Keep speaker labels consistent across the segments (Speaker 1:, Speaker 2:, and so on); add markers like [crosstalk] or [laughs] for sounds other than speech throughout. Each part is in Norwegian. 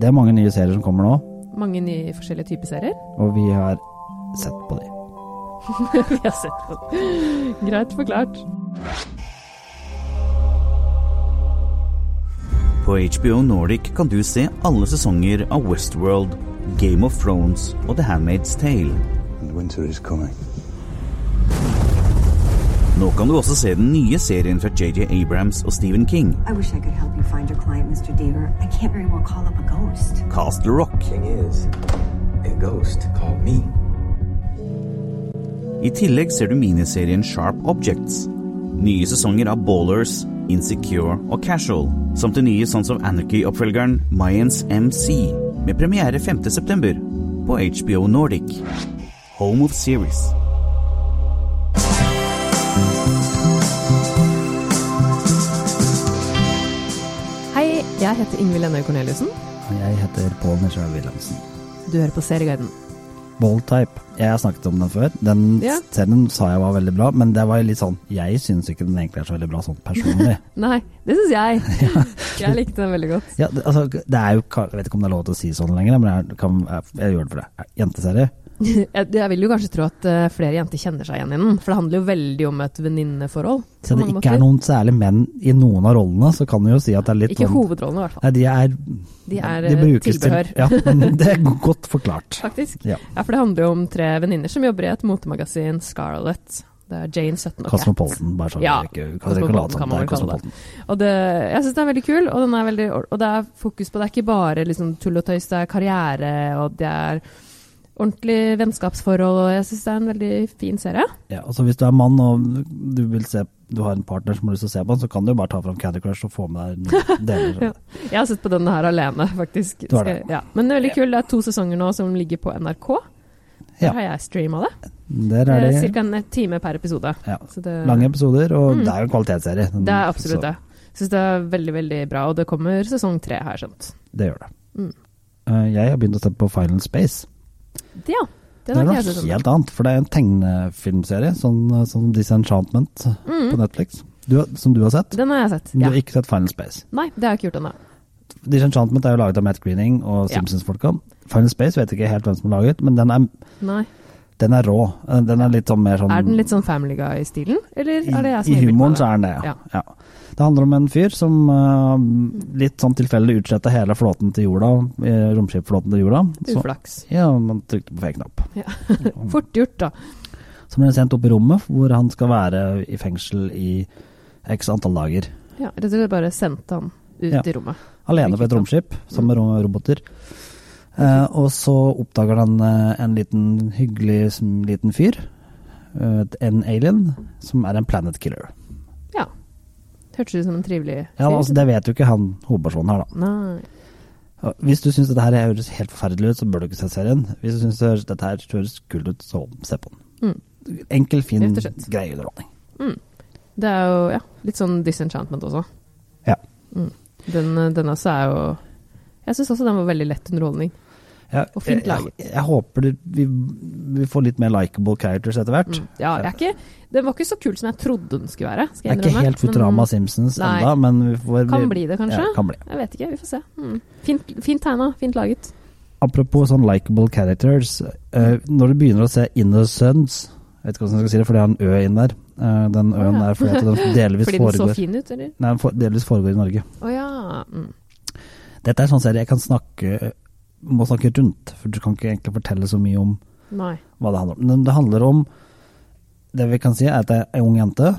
Speaker 1: Det er mange nye serier som kommer nå,
Speaker 2: Mange nye forskjellige typer serier.
Speaker 1: og vi har sett på de.
Speaker 2: [laughs] Vi har sett på den. Greit forklart.
Speaker 3: På HBO Nordic kan du se alle sesonger av Westworld, Game of Thrones og The Handmaid's Tale.
Speaker 4: And winter is coming.
Speaker 3: Nå kan du også se den nye serien fra JJ Abrams og Stephen King,
Speaker 5: I wish I could help you find your client, Mr. Deaver. I can't very well call up a ghost.
Speaker 3: Castle Rock.
Speaker 6: Thing is, a ghost called me.
Speaker 3: I tillegg ser du miniserien Sharp Objects. Nye sesonger av Ballers, Insecure og Casual, samt den nye Sons of Anarchy-oppfølgeren Mayans MC, med premiere 5.9. på HBO Nordic. Home of Series.
Speaker 2: Hei, jeg heter Ingvild Ennøy Corneliussen.
Speaker 1: Og Jeg heter Pål Nishaug Wilhelmsen.
Speaker 2: Du hører på Serieguiden.
Speaker 1: Bold Type. Jeg har snakket om den før. Den
Speaker 2: Ja.
Speaker 1: serien sa jeg var veldig bra, men det var litt sånn Jeg syns ikke den egentlig er så veldig bra sånn
Speaker 2: [laughs]
Speaker 1: personlig.
Speaker 2: Nei, det syns [laughs] jeg. Jeg likte den veldig godt.
Speaker 1: ja, det, altså, det er jo ka- Jeg vet ikke om det er lov til å si sånn lenger, men jeg, kan, jeg, jeg gjør det for det. Jenteserie.
Speaker 2: Jeg, jeg vil jo kanskje tro at eh, flere jenter kjenner seg igjen i den, for det handler jo veldig om et venninneforhold. på
Speaker 1: Så det
Speaker 2: mange
Speaker 1: ikke er
Speaker 2: måter.
Speaker 1: noen særlig menn i noen av rollene, så kan du jo si at det er litt
Speaker 2: Ikke
Speaker 1: sånn
Speaker 2: hovedrollene, i hvert fall.
Speaker 1: Nei, de er,
Speaker 2: De er
Speaker 1: de
Speaker 2: eh,
Speaker 1: brukes
Speaker 2: tilbehør,
Speaker 1: Til, ja,
Speaker 2: [laughs]
Speaker 1: men det er godt forklart.
Speaker 2: faktisk.
Speaker 1: Ja.
Speaker 2: Ja, for det handler jo om tre venninner som jobber i et motemagasin, Scarlett. Det er Jane 17 og Cat.
Speaker 1: Cosmopolitan, bare sånn.
Speaker 2: Ja,
Speaker 1: vi ikke, kan dere ikke late
Speaker 2: Cosmopolitan
Speaker 1: som
Speaker 2: kan man
Speaker 1: det er
Speaker 2: vel kalle det.
Speaker 1: Cosmopolitan.
Speaker 2: Og det, jeg syns den er veldig kul, og, den er veldig, og det er fokus på Det er ikke bare liksom, tull og tøys, det er karriere, og det er ordentlig vennskapsforhold, og jeg syns det er en veldig fin serie.
Speaker 1: Ja, altså Hvis du er mann og du vil se Du har en partner som har lyst til å se på den, så kan du jo bare ta fram Candy Crush og få med deg
Speaker 2: [laughs]
Speaker 1: noen deler.
Speaker 2: Ja. Jeg har sett på denne her alene, faktisk.
Speaker 1: Du har det.
Speaker 2: Skal- Ja. Men det er veldig kul. Det er to sesonger nå som ligger på NRK. Der
Speaker 1: Ja.
Speaker 2: har jeg streama det.
Speaker 1: Der er de
Speaker 2: Ca. en time per episode.
Speaker 1: ja,
Speaker 2: Så det,
Speaker 1: lange episoder, og det er jo en kvalitetsserie. Den-
Speaker 2: Mm. det er
Speaker 1: så
Speaker 2: absolutt det. Syns det er veldig, veldig bra, og det kommer sesong tre, har jeg skjønt.
Speaker 1: Det gjør det.
Speaker 2: Mm.
Speaker 1: Eh, Jeg har begynt å se på Final Space.
Speaker 2: Det, ja.
Speaker 1: Det
Speaker 2: Den
Speaker 1: er
Speaker 2: har
Speaker 1: noe
Speaker 2: ikke jeg sett ennå.
Speaker 1: helt annet, for det er en tegnefilmserie, sånn eh, som Disenchantment på Netflix, du, har- som du har sett.
Speaker 2: Mm, Den har jeg sett.
Speaker 1: Men
Speaker 2: Ja.
Speaker 1: du har ikke sett Final Space.
Speaker 2: Nei, det har jeg ikke gjort ennå.
Speaker 1: Disenchantment er jo laget av Matt Greening og
Speaker 2: Ja.
Speaker 1: Simpsons-folka. Final Space vet jeg ikke helt hvem som har laget, men den er,
Speaker 2: Nei.
Speaker 1: den er rå. Eh, Den er litt sånn mer sånn
Speaker 2: Er den litt sånn Family Guy-stilen, eller
Speaker 1: I,
Speaker 2: er det jeg som
Speaker 1: I
Speaker 2: har
Speaker 1: humoren
Speaker 2: innbilt
Speaker 1: så er
Speaker 2: meg
Speaker 1: den det, ja.
Speaker 2: Ja.
Speaker 1: ja. Det handler om en fyr som eh, litt sånn tilfeldig utsletta hele flåten til jorda, eh, romskipflåten til jorda.
Speaker 2: det?
Speaker 1: Så, Mm.
Speaker 2: Uflaks.
Speaker 1: ja, man trykte på feil knapp.
Speaker 2: Fort gjort, da.
Speaker 1: Så blir han sendt opp i rommet, hvor han skal være i fengsel i x antall dager.
Speaker 2: Ja, rett og slett bare sendte han ut
Speaker 1: Ja.
Speaker 2: i rommet.
Speaker 1: Alene på et romskip, sammen med ro- roboter. Eh, og så oppdager han eh, en liten hyggelig som, liten fyr, eh, en alien, som er en planet killer.
Speaker 2: Ja. Hørtes ut som en trivelig
Speaker 1: Ja,
Speaker 2: fyr.
Speaker 1: altså, det vet jo ikke han hovedpersonen her, da.
Speaker 2: Nei.
Speaker 1: Ja, Hvis du syns dette her høres helt forferdelig ut, så bør du ikke se serien. Hvis du syns det høres- dette her høres kult ut, så se på den. Enkel, fin,
Speaker 2: Mm. Rett og slett.
Speaker 1: grei underholdning.
Speaker 2: Det er jo ja, litt sånn disenchantment også. Mm.
Speaker 1: Ja.
Speaker 2: Den, den også er jo Jeg syns også den var veldig lett underholdning.
Speaker 1: Ja,
Speaker 2: Og
Speaker 1: jeg,
Speaker 2: fint laget.
Speaker 1: jeg, jeg håper det, vi, vi får litt mer likeable characters etter hvert.
Speaker 2: Mm. Ja, jeg er ikke, den var ikke så kul som jeg trodde den skulle være. Skal
Speaker 1: Det er
Speaker 2: jeg
Speaker 1: ikke
Speaker 2: innrømme.
Speaker 1: helt Futurama
Speaker 2: Men
Speaker 1: Simpsons
Speaker 2: Nei.
Speaker 1: ennå, men vi får
Speaker 2: Kan
Speaker 1: vi-
Speaker 2: bli det, kanskje?
Speaker 1: Ja, kan bli.
Speaker 2: Jeg vet ikke, vi får se. Mm. Fint, fint tegna, fint laget.
Speaker 1: Apropos sånn likeable characters. eh, når du begynner å se Innocence Jeg vet ikke hvordan jeg skal si det, for det er en ø inn der. Eh, den øen
Speaker 2: ja.
Speaker 1: er fordi at
Speaker 2: [laughs]
Speaker 1: den delvis
Speaker 2: Fordi den så
Speaker 1: foregår
Speaker 2: fin ut, eller?
Speaker 1: Nei, den for- delvis foregår i Norge.
Speaker 2: Å ja. Mm.
Speaker 1: Dette er en sånn serie jeg kan snakke må snakke rundt, for du kan ikke egentlig fortelle så mye om
Speaker 2: Nei.
Speaker 1: hva det handler om. Men det handler om Det vi kan si, er at det er ei ung jente.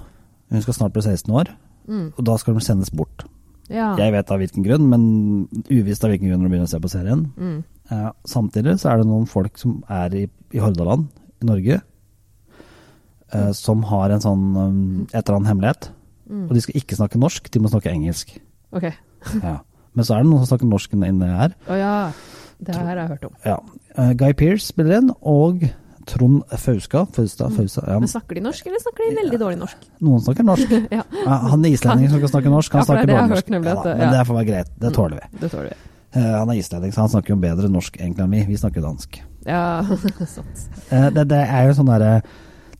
Speaker 1: Hun skal snart bli 16 år,
Speaker 2: Mm.
Speaker 1: og da skal hun sendes bort.
Speaker 2: Ja.
Speaker 1: Jeg vet av hvilken grunn, men uvisst av hvilken grunn hun begynner å se på serien.
Speaker 2: Mm.
Speaker 1: Eh, samtidig så er det noen folk som er i, i Hordaland, i Norge, eh,
Speaker 2: Mm.
Speaker 1: som har en sånn um, et eller annen hemmelighet. Og de skal ikke snakke norsk, de må snakke
Speaker 2: [laughs]
Speaker 1: engelsk.
Speaker 2: Ok.
Speaker 1: Ja. Men så er det noen som snakker norsk inne her.
Speaker 2: Å ja. Det her har jeg hørt om.
Speaker 1: Ja. Eh, Guy Pearce spiller inn, og Trond Fauska. Fausta, Fausta, ja.
Speaker 2: Mm. Men snakker de norsk, eller snakker de veldig dårlig norsk?
Speaker 1: Noen snakker norsk.
Speaker 2: [laughs] Ja.
Speaker 1: Eh, Han er islending som kan snakke norsk, han
Speaker 2: Ja, for det er
Speaker 1: snakker
Speaker 2: det jeg har
Speaker 1: dårlig
Speaker 2: hørt
Speaker 1: norsk.
Speaker 2: nemlig
Speaker 1: Ja,
Speaker 2: at det-
Speaker 1: da, men
Speaker 2: ja.
Speaker 1: det får være greit, det tåler vi.
Speaker 2: Det tåler vi.
Speaker 1: Eh, Han er islending, så han snakker jo bedre norsk egentlig enn vi. Vi snakker dansk.
Speaker 2: Ja, [laughs] sant.
Speaker 1: Eh, Det, det er jo sånn derre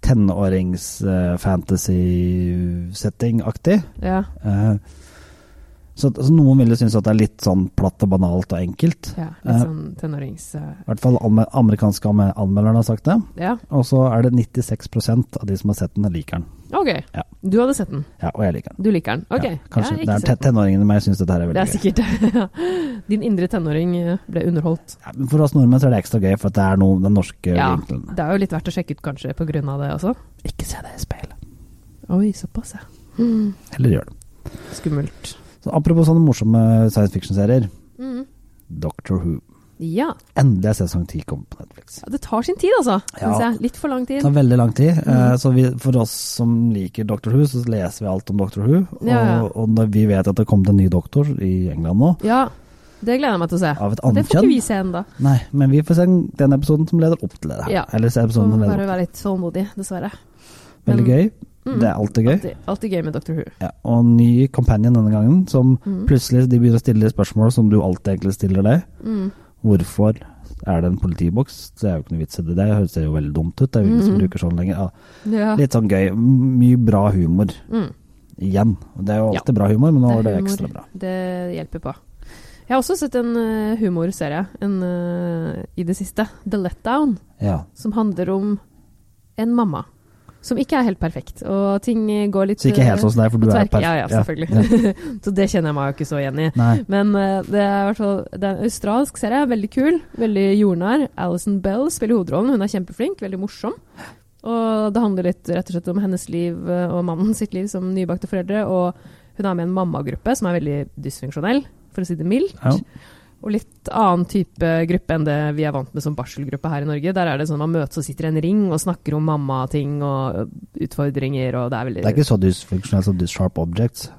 Speaker 1: tenårings-fantasy-setting-aktig.
Speaker 2: Ja.
Speaker 1: Eh, Så, så noen ville synes at det er litt sånn platt og banalt og enkelt.
Speaker 2: Ja,
Speaker 1: Eh,
Speaker 2: litt sånn tenårings... eh,
Speaker 1: I hvert fall anme- amerikanske anme- anmelderne har sagt det.
Speaker 2: Ja,
Speaker 1: Og så er det 96 av de som har sett den, liker den.
Speaker 2: ok.
Speaker 1: Ja.
Speaker 2: Du hadde sett den.
Speaker 1: Ja, og jeg liker den.
Speaker 2: Du liker den. Ok.
Speaker 1: Ja, kanskje.
Speaker 2: Jeg
Speaker 1: det
Speaker 2: har
Speaker 1: er
Speaker 2: ikke
Speaker 1: te-
Speaker 2: sett den.
Speaker 1: tenåringene men jeg syns dette her er veldig
Speaker 2: Det [laughs] er
Speaker 1: gøy.
Speaker 2: sikkert ja. Din indre tenåring eh, ble underholdt.
Speaker 1: Ja, men for oss nordmenn så er det ekstra gøy, for at det er noe den norske
Speaker 2: Ja,
Speaker 1: vinkelen.
Speaker 2: det er jo litt verdt å sjekke ut kanskje på grunn av det også.
Speaker 1: Ikke se det i speil.
Speaker 2: Oi, såpass, ja. Mm,
Speaker 1: Heller gjør det.
Speaker 2: skummelt.
Speaker 1: Så apropos sånne morsomme science fiction-serier.
Speaker 2: Mm.
Speaker 1: Doctor Who.
Speaker 2: Ja.
Speaker 1: Endelig er sesong 10 kommet på Netflix.
Speaker 2: Ja, Det tar sin tid, altså.
Speaker 1: Ja.
Speaker 2: Synes jeg. Litt for lang
Speaker 1: Det
Speaker 2: tid.
Speaker 1: tar veldig lang tid.
Speaker 2: Mm.
Speaker 1: eh, Så vi, for oss som liker Doctor Who, så leser vi alt om Doctor Who. Og,
Speaker 2: Ja, ja.
Speaker 1: og når vi vet at det kom til en ny doktor i England nå,
Speaker 2: Ja, det gleder jeg meg til å se.
Speaker 1: av et
Speaker 2: Det
Speaker 1: annet
Speaker 2: får ikke
Speaker 1: kjønn.
Speaker 2: vi se ennå.
Speaker 1: Nei, men vi får se den- den episoden som leder opp til Sånn det.
Speaker 2: Ja.
Speaker 1: Eller se
Speaker 2: Så
Speaker 1: episoden som leder
Speaker 2: bare
Speaker 1: opp.
Speaker 2: være litt tålmodig, dessverre.
Speaker 1: Veldig
Speaker 2: men-
Speaker 1: gøy.
Speaker 2: Mm.
Speaker 1: Det er alltid gøy.
Speaker 2: Alltid, alltid gøy med Dr. Who.
Speaker 1: Ja, og en ny companion denne gangen, som
Speaker 2: Mm.
Speaker 1: plutselig de begynner å stille spørsmål som du alltid egentlig stiller deg.
Speaker 2: Mm.
Speaker 1: Hvorfor er det en politiboks? Det er jo ikke noe vits i det. Det høres jo veldig dumt ut. Det er jo ingen som
Speaker 2: Mhm.
Speaker 1: bruker sånn lenger. Ja,
Speaker 2: Ja.
Speaker 1: litt sånn gøy. M- Mye bra humor
Speaker 2: Mm.
Speaker 1: igjen. Og Det er jo alltid bra humor, men nå er det
Speaker 2: humor.
Speaker 1: ekstra bra.
Speaker 2: Det hjelper på. Jeg har også sett en eh, humorserie en, eh, i det siste, The Letdown,
Speaker 1: Ja.
Speaker 2: som handler om en mamma som ikke er helt perfekt, og ting eh, går litt
Speaker 1: Så ikke helt
Speaker 2: eh,
Speaker 1: sånn som deg, for
Speaker 2: på
Speaker 1: du er
Speaker 2: tverk.
Speaker 1: perfekt.
Speaker 2: Ja, ja,
Speaker 1: Ja.
Speaker 2: selvfølgelig. [laughs] Så det kjenner jeg meg jo ikke så igjen i.
Speaker 1: Nei.
Speaker 2: Men eh, det er i hvert fall Det er en australsk serie, veldig kul, veldig jordnær. Alison Bell spiller hovedrollen, hun er kjempeflink, veldig morsom. Og det handler litt rett og slett om hennes liv eh, og mannen sitt liv som nybakte foreldre. Og hun er med i en mammagruppe som er veldig dysfunksjonell, for å si det mildt.
Speaker 1: Ja.
Speaker 2: Og litt annen type gruppe enn det vi er vant med som barselgruppe her i Norge. Der er det sånn man møtes og sitter i en ring og snakker om mammating og utfordringer, og det er veldig
Speaker 1: Det er ikke så dysfunksjonelt som dys Sharp Objects.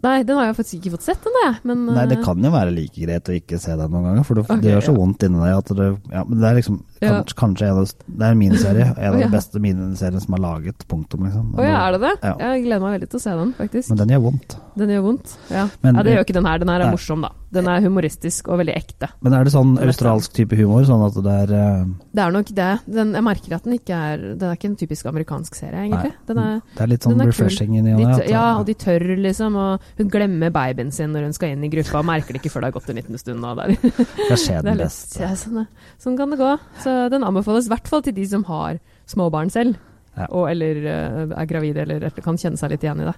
Speaker 2: Nei, den har jeg faktisk ikke fått sett ennå, jeg. Men
Speaker 1: Nei, det
Speaker 2: eh,
Speaker 1: kan jo være like greit å ikke se den noen ganger, for det, det
Speaker 2: Ok,
Speaker 1: gjør så
Speaker 2: ja.
Speaker 1: vondt inni deg at det ja, men Det er liksom
Speaker 2: Ja.
Speaker 1: kanskje, kanskje en av Det er en miniserie. En av
Speaker 2: Ja.
Speaker 1: de beste miniseriene som er laget. Punktum, liksom.
Speaker 2: Å ja, er det det?
Speaker 1: Ja.
Speaker 2: Jeg gleder meg veldig til å se den, faktisk.
Speaker 1: Men den gjør vondt.
Speaker 2: Den gjør vondt. Ja,
Speaker 1: Men-
Speaker 2: ja det gjør ikke den her. Den her er
Speaker 1: Nei.
Speaker 2: morsom, da. Den er humoristisk og veldig ekte.
Speaker 1: Men er det sånn
Speaker 2: Det er
Speaker 1: australsk type humor, sånn at det er eh,
Speaker 2: Det er nok det. Den, jeg merker at den ikke er Den er ikke en typisk amerikansk serie, egentlig.
Speaker 1: Nei.
Speaker 2: Den er,
Speaker 1: Det er litt sånn
Speaker 2: Den er kul.
Speaker 1: refreshing inni
Speaker 2: de,
Speaker 1: og
Speaker 2: tør-
Speaker 1: ne, at- eh,
Speaker 2: ja, og de tør, liksom. Og hun glemmer babyen sin når hun skal inn i gruppa, og merker det ikke før det har gått en liten stund. Og det er-
Speaker 1: Det skjer
Speaker 2: [laughs] det er
Speaker 1: den
Speaker 2: litt,
Speaker 1: beste.
Speaker 2: ja, sånn, er- sånn kan det gå. Så den anbefales i hvert fall til de som har små barn selv,
Speaker 1: Ja.
Speaker 2: og eller eh, er gravide, eller, eller kan kjenne seg litt igjen i det.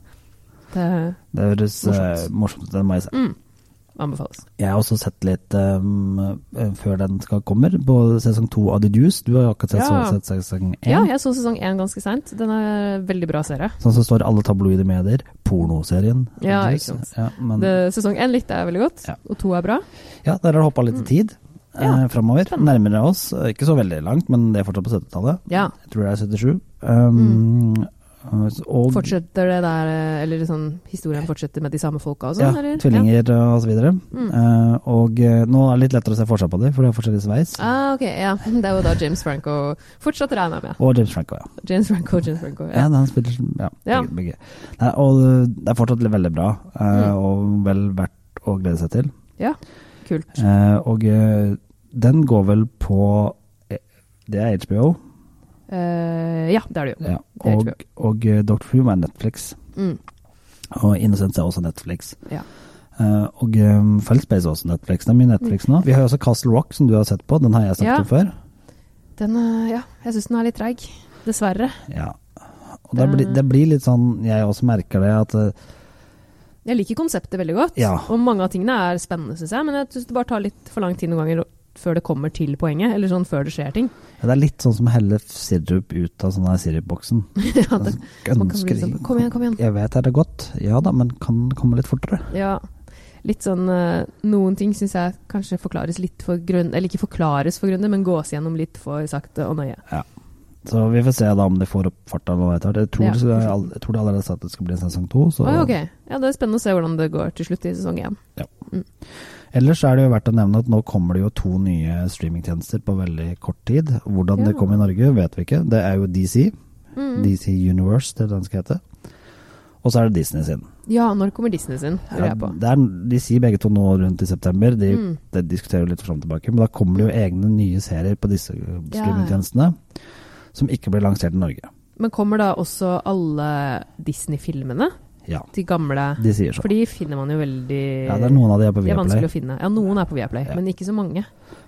Speaker 2: Det
Speaker 1: Det høres eh, morsomt ut. Den må jeg se.
Speaker 2: mm, anbefales.
Speaker 1: Jeg har også sett litt eh, eh, før den skal kommer, på sesong to av The Deuce. Du har jo akkurat sett,
Speaker 2: Ja.
Speaker 1: så, sett sesong én.
Speaker 2: Ja, jeg så sesong én ganske seint. Den er en veldig bra serie.
Speaker 1: Sånn som står i alle tabloide medier. Pornoserien. The
Speaker 2: Ja,
Speaker 1: Deuce.
Speaker 2: ikke sant.
Speaker 1: Ja, men,
Speaker 2: Det, sesong én likte jeg veldig godt,
Speaker 1: Ja.
Speaker 2: og to er bra.
Speaker 1: ja, der har det hoppa litt i tid.
Speaker 2: Mm. Ja,
Speaker 1: Eh, framover. Nærmere oss. Eh, Ikke så veldig langt, men det er fortsatt på 70-tallet.
Speaker 2: Ja. Mm.
Speaker 1: Jeg tror det er 77. Um, eh, og,
Speaker 2: Fortsetter det der eh, Eller sånn, historien fortsetter med de samme folka og
Speaker 1: Ja,
Speaker 2: sånn? eller?
Speaker 1: tvillinger og så videre.
Speaker 2: Mm.
Speaker 1: Eh, og eh, nå er det litt lettere å se forskjell på dem, for de har forskjellig sveis.
Speaker 2: Ah, ok, ja. [laughs] Det er jo da James Franco Fortsatt regner jeg med.
Speaker 1: Og James Franco, ja.
Speaker 2: James Franco, James Franco.
Speaker 1: ja.
Speaker 2: Ja.
Speaker 1: han spiller ja,
Speaker 2: Ja.
Speaker 1: Begge, begge. Nei, og eh, det er fortsatt veldig bra, eh,
Speaker 2: Mm.
Speaker 1: og vel verdt å glede seg til.
Speaker 2: ja. Kult.
Speaker 1: Eh, og eh, den går vel på eh, Det er HBO,
Speaker 2: Eh, ja, det er det jo.
Speaker 1: ja.
Speaker 2: Det er
Speaker 1: og, og eh, Doctor Who er Netflix.
Speaker 2: Mm.
Speaker 1: Og Innocence er også Netflix.
Speaker 2: Ja.
Speaker 1: Eh, og um, Feltspace er også Netflix. Det er mye Netflix nå. Vi har jo også Castle Rock, som du har sett på. Den har jeg snakket
Speaker 2: Mm. Ja.
Speaker 1: om før.
Speaker 2: Den, eh, ja, jeg syns den er litt treig. Dessverre.
Speaker 1: Ja. Og det,
Speaker 2: Det-
Speaker 1: blir, det blir litt sånn, jeg også merker det, at eh,
Speaker 2: Jeg liker konseptet veldig godt,
Speaker 1: Ja.
Speaker 2: og mange av tingene er spennende, syns jeg. Men jeg syns det bare tar litt for lang tid noen ganger før det kommer til poenget, eller sånn før det skjer ting. [laughs]
Speaker 1: det er litt sånn som å helle sirup ut av sånn her sirupboksen.
Speaker 2: ja, det, man kan bli
Speaker 1: Ønsker
Speaker 2: sånn, kom igjen, kom igjen.
Speaker 1: Jeg vet er det godt, ja da, men kan det komme litt fortere.
Speaker 2: Ja, litt sånn eh, Noen ting syns jeg kanskje forklares litt for grunn... Eller ikke forklares for grunne, men gås gjennom litt for sakte og nøye.
Speaker 1: Så vi får se da om de får opp farta nå etter hvert. Jeg tror,
Speaker 2: Ja.
Speaker 1: det skal- jeg, all- jeg tror det allerede sa at det skal bli en sesong to. Så.
Speaker 2: Å, ja, ok. Ja, det er spennende å se hvordan det går til slutt i sesong én.
Speaker 1: Ellers er det jo verdt å nevne at nå kommer det jo to nye streamingtjenester på veldig kort tid. Hvordan det
Speaker 2: Ja.
Speaker 1: kommer i Norge, vet vi ikke. Det er jo DC.
Speaker 2: Mm.
Speaker 1: DC Universe, det er det den skal hete. Og så er det Disney sin.
Speaker 2: Ja, når kommer Disney sin? Lurer
Speaker 1: Ja,
Speaker 2: jeg på.
Speaker 1: det er, de sier begge to nå rundt i september, de,
Speaker 2: Mm.
Speaker 1: det diskuterer jo litt fram og tilbake, men da kommer det jo egne nye serier på disse eh,
Speaker 2: Ja,
Speaker 1: streamingtjenestene som ikke blir lansert i Norge.
Speaker 2: Men kommer da også alle Disney-filmene?
Speaker 1: Ja,
Speaker 2: De gamle.
Speaker 1: de sier
Speaker 2: For
Speaker 1: sånn.
Speaker 2: de finner man jo veldig
Speaker 1: Ja, det er noen av de er på
Speaker 2: Det er vanskelig
Speaker 1: Viaplay.
Speaker 2: å finne. Ja, noen er på Viaplay,
Speaker 1: Ja.
Speaker 2: men ikke så mange.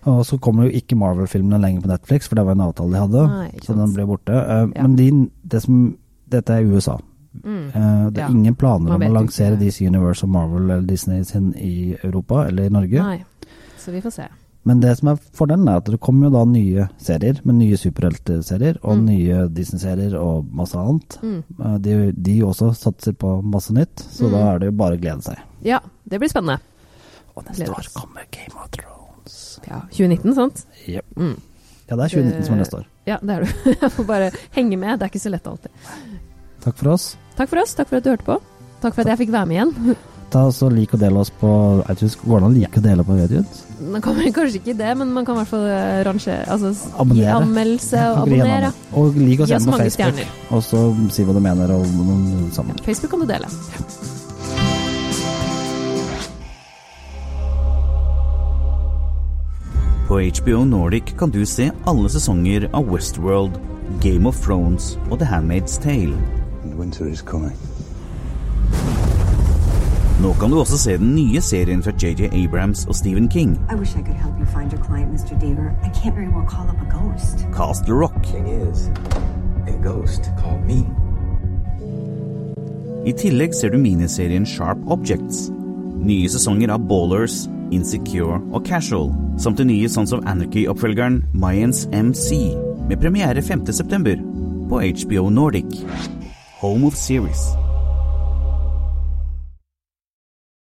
Speaker 1: Og så kommer jo ikke Marvel-filmene lenger på Netflix, for det var en avtale de hadde.
Speaker 2: Nei, ikke
Speaker 1: så
Speaker 2: sant.
Speaker 1: den ble borte. Eh,
Speaker 2: Ja.
Speaker 1: Men de, det som, dette er USA.
Speaker 2: Mm.
Speaker 1: Eh, det er
Speaker 2: Ja.
Speaker 1: ingen planer
Speaker 2: Man
Speaker 1: om å
Speaker 2: vet jo
Speaker 1: lansere
Speaker 2: ikke.
Speaker 1: DC Universe og Marvel eller Disney sin i Europa eller i Norge.
Speaker 2: Nei. Så vi får se.
Speaker 1: Men det som er fordelen er at det kommer jo da nye serier, med nye superhelteserier og
Speaker 2: Mm.
Speaker 1: nye Disney-serier og masse annet.
Speaker 2: Mm.
Speaker 1: Eh, De, de også satser på masse nytt, så
Speaker 2: Mm.
Speaker 1: da er det jo bare å glede seg.
Speaker 2: Ja, det blir spennende.
Speaker 1: Og neste
Speaker 2: Gleder
Speaker 1: år
Speaker 2: oss.
Speaker 1: kommer Game of Thrones.
Speaker 2: Ja, 2019, sant?
Speaker 1: Jep.
Speaker 2: Mm.
Speaker 1: Ja, det er 2019 som er neste år.
Speaker 2: Ja, det er du. [laughs] Jeg får bare henge med. Det er ikke så lett alltid.
Speaker 1: Takk for oss.
Speaker 2: Takk for oss. Takk for at du hørte på. Takk for at jeg fikk være med igjen. [laughs]
Speaker 1: Ta oss og Lik og del oss på iTunes. Går det an å like og dele på iTunes?
Speaker 2: Man kan vel kanskje ikke det, men man kan i hvert fall eh, rangere Altså s- gi
Speaker 1: Abonnere.
Speaker 2: anmeldelse og
Speaker 1: Kan ikke vi gjøre
Speaker 2: abonnere.
Speaker 1: noe annet? Og lik oss
Speaker 2: Gi oss
Speaker 1: gjerne på
Speaker 2: mange
Speaker 1: Facebook, og så si hva du mener og noen sammen.
Speaker 2: Ja, Facebook kan du dele.
Speaker 3: På HBO Nordic kan du se alle sesonger av Westworld, Game of Thrones og The Handmaid's Tale.
Speaker 6: And winter is coming.
Speaker 3: Nå kan du også se den nye serien fra JJ Abrams og Stephen King,
Speaker 5: I wish I could help you find your client, Mr. Deaver. I can't very well call up a ghost.
Speaker 3: Castle Rock.
Speaker 6: Thing is, a ghost called me.
Speaker 3: I tillegg ser du miniserien Sharp Objects. Nye sesonger av Ballers, Insecure og Casual, samt den nye Sons of Anarchy-oppfølgeren Mayans MC, med premiere 5.9. på HBO Nordic. Home of Series.